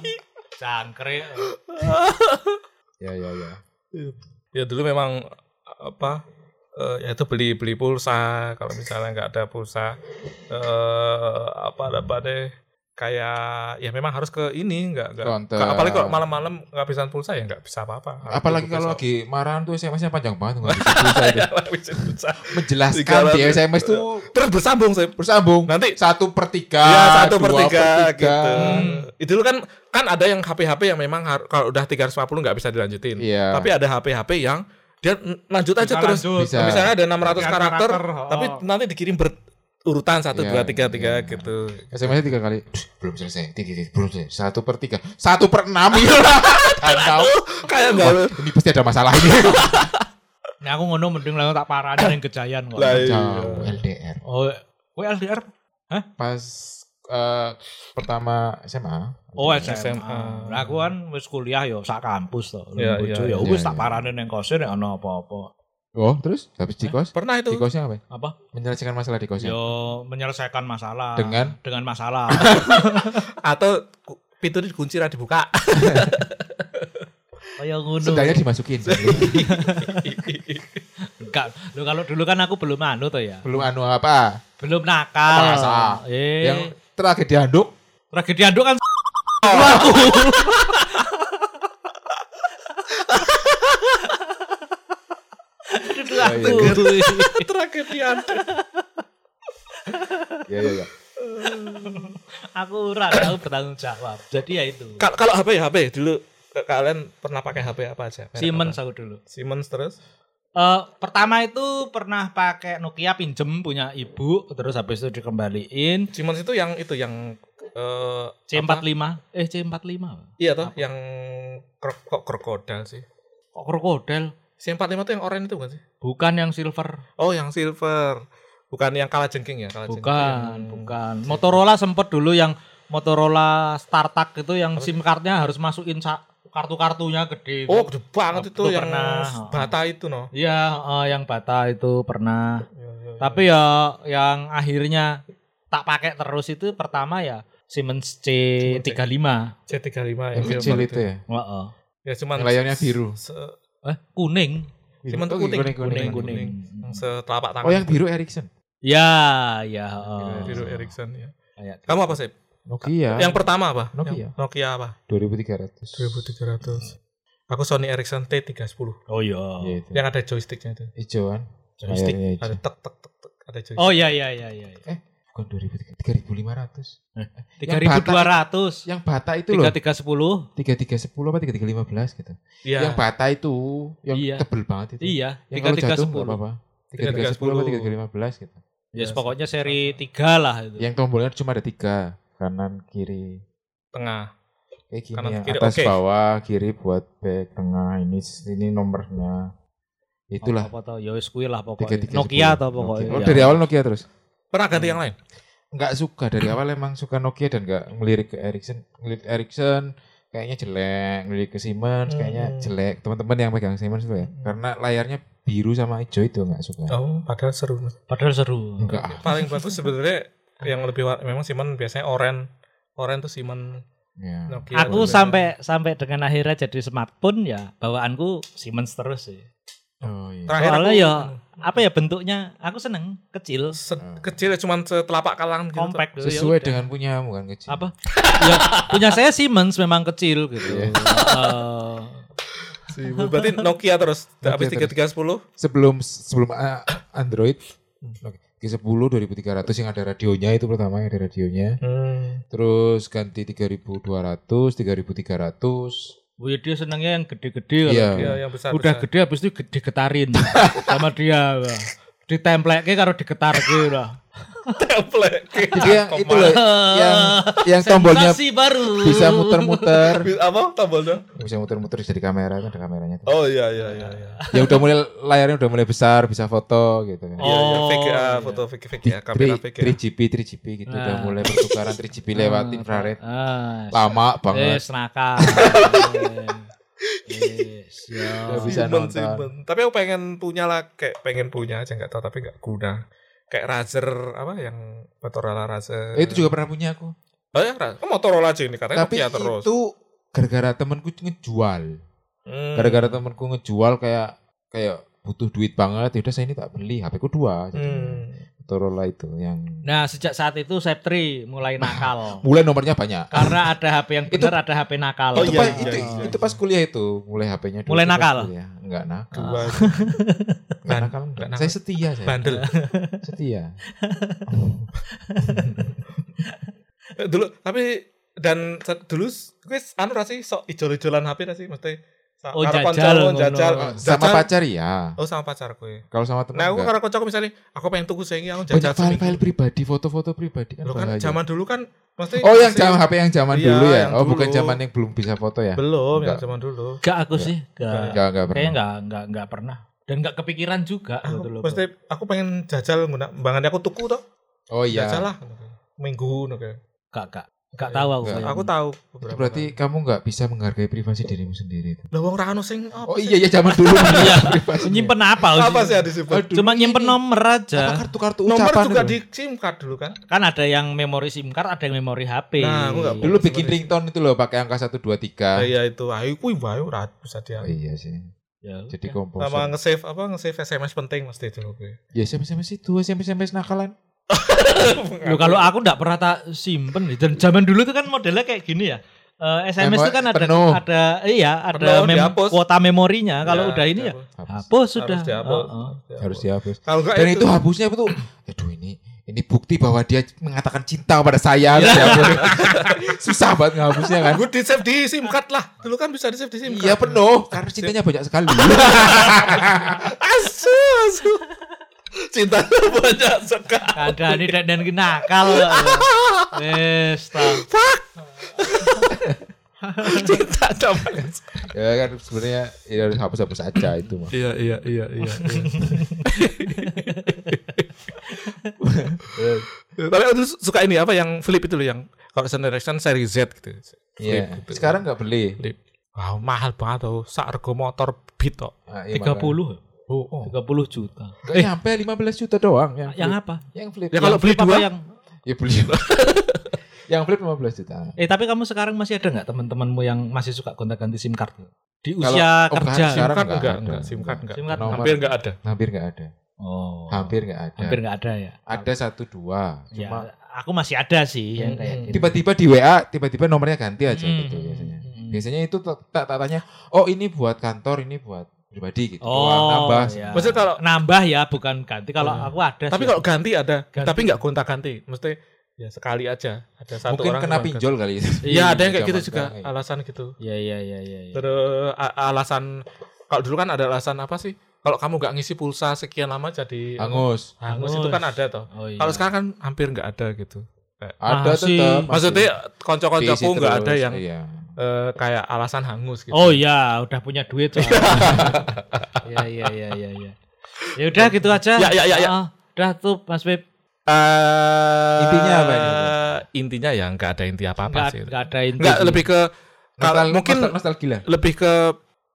B: Jangkrik.
A: Ya ya ya.
C: Ya dulu memang apa? eh, ya itu beli beli pulsa kalau misalnya nggak ada pulsa eh apa apa deh kayak ya memang harus ke ini nggak nggak
A: Konter.
C: nggak- apalagi kalau malam-malam kehabisan pulsa ya nggak bisa apa-apa Harus
A: Apalagi
C: tunggu
A: kalau
C: besok.
A: lagi marahan tuh SMS-nya panjang banget nggak bisa pulsa itu.
C: Ya, kehabisan pulsa.
A: Menjelaskan
D: Tiga
A: di
D: ratus.
A: SMS tuh
C: terus bersambung saya
A: bersambung.
C: Nanti-
A: satu per tiga,
D: Iya, satu per
A: dua
D: tiga, gitu.
A: Hmm.
C: itu dulu kan kan ada yang HP-HP yang memang har- kalau udah 350 nggak bisa dilanjutin.
A: Iya.
C: Tapi ada HP-HP yang dia n- lanjut aja
B: Bisa
C: terus.
B: lanjut.
A: Bisa.
C: Misalnya ada 600
B: Tiga
C: karakter,
B: karakter, oh.
C: tapi nanti dikirim berurutan 1
A: Iya,
C: 2 3 3
A: iya.
C: gitu.
A: SMS-nya tiga kali. Duh, Belum selesai. Tiga, tiga, belum selesai. Satu per tiga. Satu per enam. Dan tahu.
D: Kayak enggak.
A: Wah, ini pasti ada masalah ini.
B: Nah aku ngono mending langsung tak parani yang kejayan kok.
D: Lah iya.
A: Jauh LDR.
B: Oh, kowe LDR?
A: Pas eh, pertama SMA.
B: Oh
C: SMA.
B: SMA. Nah, aku kan wis kuliah yo sak kampus to.
C: Iya,
B: Lho bojo ya
C: iya,
B: wis
A: iya,
B: tak
A: iya.
B: parane ning kose nek ana apa-apa.
A: Oh terus habis di kos?
C: Pernah itu.
A: Di kosnya apa?
B: Apa?
A: Menyelesaikan masalah ya? di kosnya.
B: Yo menyelesaikan
A: Iya.
B: masalah
A: Dengan?
B: dengan masalah.
C: Atau ku- pintu dikunci ra dibuka.
B: Kayak ngono.
A: Sedangnya dimasukin.
B: Enggak. Lo kalau dulu kan aku belum anu tuh ya.
A: Belum anu apa.
B: Belum nakal.
A: Masa?
B: Eh.
A: Yang terakhir dianduk.
B: tragedi anduk kan aku.
A: Oh, iya.
B: Aku.
C: Tragedi Anda.
A: Iya iya iya.
B: Aku ora tahu bertanggung jawab. Jadi ya itu.
C: Kal- Kalau HP HP dulu ke- kalian pernah pakai HP apa aja? Merek
B: Siemens
C: apa?
B: aku dulu.
C: Siemens terus.
B: Eh, pertama itu pernah pakai Nokia pinjem punya ibu terus habis itu dikembaliin
C: Siemens itu yang itu yang eh, apa?
B: C45 eh C45
C: Iya toh, yang kro- kok krokodil sih.
B: kok krokodil
C: C45 tuh yang oranye itu bukan sih?
B: bukan yang silver
C: Oh, yang silver. Bukan yang kalah jengking ya, kalah
B: bukan bukan Motorola sempet dulu yang Motorola StarTAC itu yang SIM cardnya harus masukin sa- kartu-kartunya gede itu.
C: Oh, gede banget itu,
B: Itu
C: yang
B: pernah.
C: bata itu no.
B: Iya, eh, yang bata itu pernah.
C: Iya,
B: Tapi ya yang akhirnya tak pakai terus itu pertama ya Siemens C35.
C: C35
A: Yang kecil itu ya.
B: Heeh.
C: Ya cuman
A: Yang layarnya biru.
C: Se,
B: Eh, kuning.
C: Siemens
A: Oh,
C: kuning. Hmm.
B: kuning,
A: kuning.
B: kuning.
C: yang setelapak tangan. Iya,
A: Oh yang biru Ah. Ericsson.
B: Ya, ya. heeh.
C: biru Ericsson ya.
B: Kayak gitu.
C: Kamu apa sih?
A: Nokia.
C: Yang pertama apa?
A: Nokia.
C: Yang- Nokia apa?
A: 2300.
C: 2300. Aku Sony Ericsson T310
B: Oh iya.
A: Ya itu.
C: yang ada joysticknya itu.
A: Hijauan.
B: Joystick.
A: Layarnya iya, hijau.
C: Ada tek tek tek tek ada joystick.
B: Oh iya iya iya iya.
A: Bukan 2300, 3500. Yang bata Yang
B: 3200.
A: bata itu loh.
B: 3310.
A: 3310 apa 3315 gitu.
C: Iya.
A: Yang bata itu yang
B: Iya.
A: tebel banget itu.
B: Iya,
A: Yang kalau jatuh nggak
B: 3310.
A: apa-apa. 3310 apa 3315 gitu.
B: Ya yes, pokoknya seri 3 lah itu.
A: Yang tombolnya cuma ada tiga kanan kiri
C: tengah.
A: kayak gini
C: Kanan,
A: yang
C: kiri,
A: atas
C: oke.
A: bawah kiri buat back tengah ini ini nomornya itulah
B: Apa, apa tau, ya wis kuwi lah pokoknya.
A: 3310.
B: Nokia atau pokoknya. Ya. Iya.
A: Nokia. oh dari awal Nokia terus
C: Pernah
A: Hmm.
C: ganti yang lain?
A: nggak suka dari awal emang suka Nokia dan nggak ngelirik ke Ericsson ngelirik Ericsson kayaknya jelek milik ke Siemens kayaknya
B: Hmm.
A: jelek teman-teman yang pegang Siemens itu ya karena layarnya biru sama hijau itu nggak suka
C: Oh, padahal seru. Mas.
B: Padahal seru.
A: enggak ah.
C: Paling bagus sebenarnya yang lebih wa- memang Simon biasanya oren. Oren tuh Simon
A: ya.
C: Nokia.
B: Aku
C: Oren.
B: sampai sampai dengan akhirnya jadi smartphone ya bawaanku Siemens terus sih.
A: oh iya
C: Terakhir
B: Soalnya
C: aku-
B: ya apa ya bentuknya aku seneng kecil
C: se- kecil ya, cuman setelapak kalangan gitu.
B: compact gitu, ya
A: sesuai
B: udah.
A: dengan punya bukan kecil
B: apa ya, punya saya Siemens memang kecil gitu
A: Iya.
B: Eh,
C: Si- Berarti Nokia terus
A: Nokia
C: habis
A: terus.
C: 3310.
A: sebelum sebelum ah, Android Hmm. G10 2300 yang ada radionya itu pertama yang ada radionya
B: Hmm.
A: terus ganti 3200 3300
B: Wih dia senangnya yang gede-gede kalau
A: Iya.
B: dia.
C: Ya, yang besar.
B: udah
C: besar.
B: gede habis itu gede getarin sama dia ditempleknya karo digetarke lah
D: Template.
A: jadi yang itu loh yang yang tombolnya
B: Ah, Sensasi baru
A: bisa muter-muter
D: Apa tombolnya?
A: bisa muter-muter jadi kamera kan ada kameranya tuh.
D: Oh iya iya iya. iya.
A: ya udah mulai layarnya udah mulai besar bisa foto gitu kan
B: Oh, ya?
C: Iya, iya, VGA,
B: iya.
C: foto VGA,
A: Di-
C: VGA, kamera ya.
A: tri-
C: VGA.
A: 3GP 3GP gitu udah
B: Nah.
A: mulai pertukaran 3GP lewat infrared
B: ah,
A: lama
B: eh
A: banget
B: serakah Eh,
A: Udah
B: siap.
A: bisa
C: Simen,
A: nonton
C: simen. Tapi aku pengen punya lah, kayak pengen punya aja nggak tahu tapi nggak guna. Kayak Razer apa yang Motorola Razer.
A: Eh, itu juga pernah punya aku
C: Oh ya, Razer. Oh, Motorola aja ini katanya
A: tapi
C: Nokia ya terus.
A: itu gara-gara temenku ngejual
C: Hmm.
A: gara-gara temenku ngejual kayak kayak butuh duit banget ya udah saya ini tak beli HP ku dua
C: Hmm.
A: jadi Motorola itu yang
B: nah sejak saat itu Septri mulai nakal
A: mulai nomornya banyak
B: karena ada HP yang
A: Itu-
B: benar ada HP nakal
D: Oh,
A: itu,
D: iya,
A: pas,
D: iya,
A: itu,
D: iya.
A: itu pas kuliah itu mulai HP-nya dulu
B: Mulai
A: itu pas
B: nakal?
A: kuliah. enggak nakal
C: Dua.
B: Ah.
A: enggak
C: Ban-
A: nakal enggak.
C: enggak nakal.
A: saya setia saya
C: Bandel.
A: setia
C: Eh, dulu tapi dan se- dulu guys anu ra sih sok ijol-ijolan HP ra sih mesti sa-
B: Oh, jajal,
C: karo koncomu,
B: ngono.
C: jajal.
A: sama
C: Jajal.
A: pacar ya
C: Oh sama pacar gue.
A: kalau sama teman
C: Nah, aku
A: enggak.
C: karo kancaku misalnya aku pengen tuku saiki aku
A: banyak
C: jajal
A: file-file
C: seminggu.
A: pribadi foto-foto pribadi kan,
C: Lo kan
A: bahaya.
C: zaman dulu kan mesti
A: oh yang
C: masih-
A: zaman HP yang zaman
C: Iya,
A: dulu ya
C: yang
A: oh bukan
C: dulu.
A: zaman yang belum bisa foto ya
C: belum yang
A: Enggak.
C: zaman dulu.
B: Gak aku sih, gak,
A: enggak enggak pernah
B: kayaknya gak, gak, gak pernah dan gak kepikiran juga
C: Aku,
B: gitu loh.
C: mesti aku pengen jajal guna bangannya aku tuku toh.
A: oh iya
C: Jajal lah. Minggu ngono kayak.
B: Gak, gak, gak tahu aku.
A: Enggak.
B: kayaknya.
C: Aku tahu
A: Itu berarti kamu nggak bisa menghargai privasi dirimu sendiri itu.
C: Lah wong ra ono sing apa
A: Oh
C: sih?
A: iya ya zaman dulu
B: Iya.
A: privasi.
B: nyimpen apa?
C: Apa sih ada simpen?
A: Aduh,
B: Cuma nyimpen
A: ini.
B: nomor
A: Apa
B: aja.
A: kartu-kartu
C: Nomor
A: ucapan
C: juga
A: itu?
C: di SIM card dulu kan?
B: Kan ada yang memori SIM card, ada yang memori Iya. HP.
C: Nah, aku gak
A: Dulu
C: Sebenarnya.
A: bikin ringtone itu loh pakai angka 1 2
C: Nah,
A: 3.
C: iya itu. Ayo kuwi wae ora bisa dia.
A: Oh, iya sih.
B: Ya,
A: Jadi
B: udah.
A: komposer.
C: sama nge-save apa nge-save SMS penting mesti dulu gue.
A: Ya SMS-SMS itu, SMS-SMS nakalan.
B: Loh, kalau aku gak pernah tak simpen. Dan zaman dulu tuh kan modelnya kayak gini ya. Eh,
A: Memo-
B: SMS itu kan ada
A: penuh.
B: ada iya ada
C: Penuh,
B: mem-
C: dihapus.
B: kuota memorinya kalau
C: Ya,
B: udah ini ya
C: dihapus.
A: Hapus.
B: hapus
C: Harus
B: sudah
C: dihapus.
B: Oh, oh.
A: Harus dihapus.
C: Kalau enggak
A: Dan itu hapusnya itu aduh ini ini bukti bahwa dia mengatakan cinta pada saya harus dihapus. Susah banget ngapusnya kan.
C: gue di save di SIM card lah. Dulu kan bisa di save di SIM card.
A: Iya penuh karena cintanya banyak sekali.
C: Asu, asu. Cinta banyak sekali.
B: ada ini dan dan nakal wes tau.
C: Cinta ada banyak sekali.
A: ya kan sebenarnya ya harus hapus-hapus aja itu mah.
C: Iya iya iya iya. Tapi aku tuh suka ini apa yang flip itu loh yang kalau Generation seri Z gitu. Flip
A: Iya.
C: gitu.
A: Sekarang nggak beli.
C: flip. Wow, mahal banget tuh. Sak rego motor Beat tok.
A: Ah, iya,
B: 30
A: makanya.
C: Oh, oh. Nah,
B: 30 juta
A: Gak nyampe 15 juta doang yang
B: yang
A: flip.
B: apa
A: yang flip.
C: Ya
A: Yang-
C: kalau beli
B: Apa
C: dua
B: yang
A: ya beli. yang flip 15 juta.
B: eh tapi kamu sekarang masih ada nggak teman-temanmu yang masih suka gonta-ganti SIM card di
A: Kalau- oh,
B: usia
A: enggak,
B: kerja
A: sekarang enggak
C: SIM card Kan enggak,
A: ada.
C: enggak, SIM card enggak.
B: SIM card
A: Nomor.
C: Hampir enggak ada.
A: Hampir nggak ada.
B: oh
A: Hampir nggak ada.
B: hampir nggak ada ya
A: Ada satu dua.
B: ya
A: Cuma
B: aku masih ada sih yang kayak gitu
A: tiba-tiba di WA tiba-tiba nomornya ganti aja
B: Hmm.
A: gitu biasanya.
B: Hmm.
A: Biasanya itu tak tak tak tanya, "Oh, ini buat kantor, ini buat pribadi" gitu. Doang,
B: oh
A: nambah.
B: ya.
C: Maksudnya kalau
B: nambah ya bukan ganti kalau aku ada
C: tapi
B: sih.
C: kalau ganti ada,
B: Ganti.
C: tapi nggak gonta ganti. Mesti ya sekali aja. Ada satu
A: Mungkin
C: orang
A: kena
C: yang ganti.
A: pinjol kali.
C: Iya, ada yang
A: Zaman
C: kayak gitu juga
A: sekarang, iya.
C: alasan gitu.
B: ya ya ya ya, ya.
C: Terus a- alasan kalau dulu kan ada alasan apa sih? Kalau kamu nggak ngisi pulsa sekian lama jadi
A: Angus.
C: Hangus itu
B: Hangus.
C: kan ada toh.
B: oh, iya.
C: Kalau sekarang kan hampir nggak ada gitu.
A: Ada
B: Masih.
A: tetap. masih.
C: Maksudnya
A: Diisi
C: konco-koncoku nggak ada
A: terus,
C: yang
A: iya.
C: eh, kayak alasan hangus gitu.
B: Oh iya, udah punya duit soalnya. Iya iya iya iya iya. Ya udah gitu aja.
C: Ya, ya, ya, ya.
B: Ah, udah tuh Mas Pip.
C: Eh,
A: Intinya apa ini?
C: Intinya ya nggak ada inti apa-apa
B: Enggak
C: sih.
B: enggak ada inti.
C: Nggak lebih ke
A: Nostal-
C: mungkin-
A: nostal- nostalgia.
C: lebih ke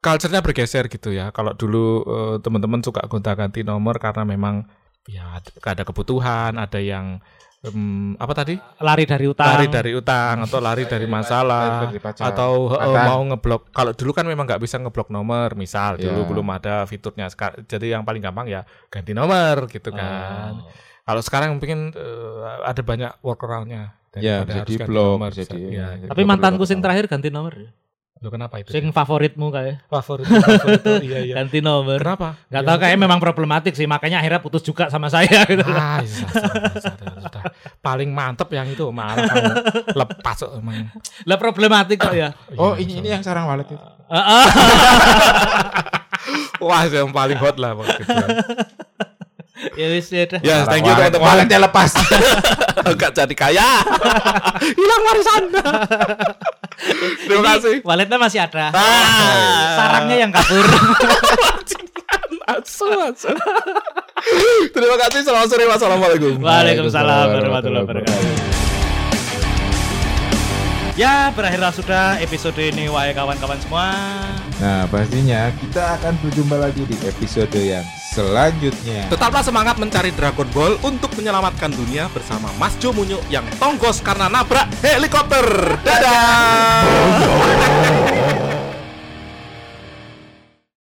C: culture-nya bergeser gitu ya. Kalau dulu eh, teman-teman suka gonta-ganti nomor karena memang ya ada kebutuhan, ada yang em, apa tadi?
B: lari dari utang Oh.
C: Lari dari utang atau lari dari masalah
A: Dari pacar.
C: atau eh,
A: Mantan.
C: mau ngeblok. Kalau dulu kan memang nggak bisa ngeblok nomor, misal
A: Ya.
C: dulu belum ada fiturnya. Sekar- Jadi yang paling gampang ya ganti nomor gitu kan. Kalau sekarang mungkin eh, ada banyak workaround-nya.
A: Ya, bisa
C: Daripada harus ganti
A: diblok,
C: nomor,
A: bisa di-
C: ya.
B: tapi mantanku sing terakhir ganti nomor
C: Loh, kenapa itu?
B: sing favoritmu kayak
C: favorit. favorit. Iya, iya.
B: ganti nomor
C: Kenapa?
B: Gak
C: Ya,
B: tau kayak memang problematik sih makanya akhirnya putus juga sama saya gitu.
C: Ah, ya sudah, sudah, sudah, sudah. iya. Paling mantep yang itu malah kamu lepas oh, Iya, kok emang.
B: Lah problematik kok ya.
A: Oh, ini ini yang sarang walet itu.
B: Heeh.
C: Wah, yang paling hot lah waktu itu.
B: ya wis ya dah.
D: Eh,
C: Ya,
A: Sarang
C: thank you
A: walet.
C: teman-teman.
A: Waletnya lepas.
D: Enggak jadi kaya.
C: Hilang warisan.
D: Terima kasih.
B: Waletnya masih ada.
D: Ah.
B: Sarangnya yang kabur.
C: Langsung, langsung.
D: Terima kasih. Selamat sore. Wassalamualaikum.
B: Waalaikumsalam warahmatullahi wabarakatuh. Ya, berakhirlah sudah episode ini wahai kawan-kawan semua.
A: Nah, pastinya kita akan berjumpa lagi di episode yang selanjutnya.
D: Tetaplah semangat mencari Dragon Ball untuk menyelamatkan dunia bersama Mas Jo Munyo yang tonggos karena nabrak helikopter. Dadah.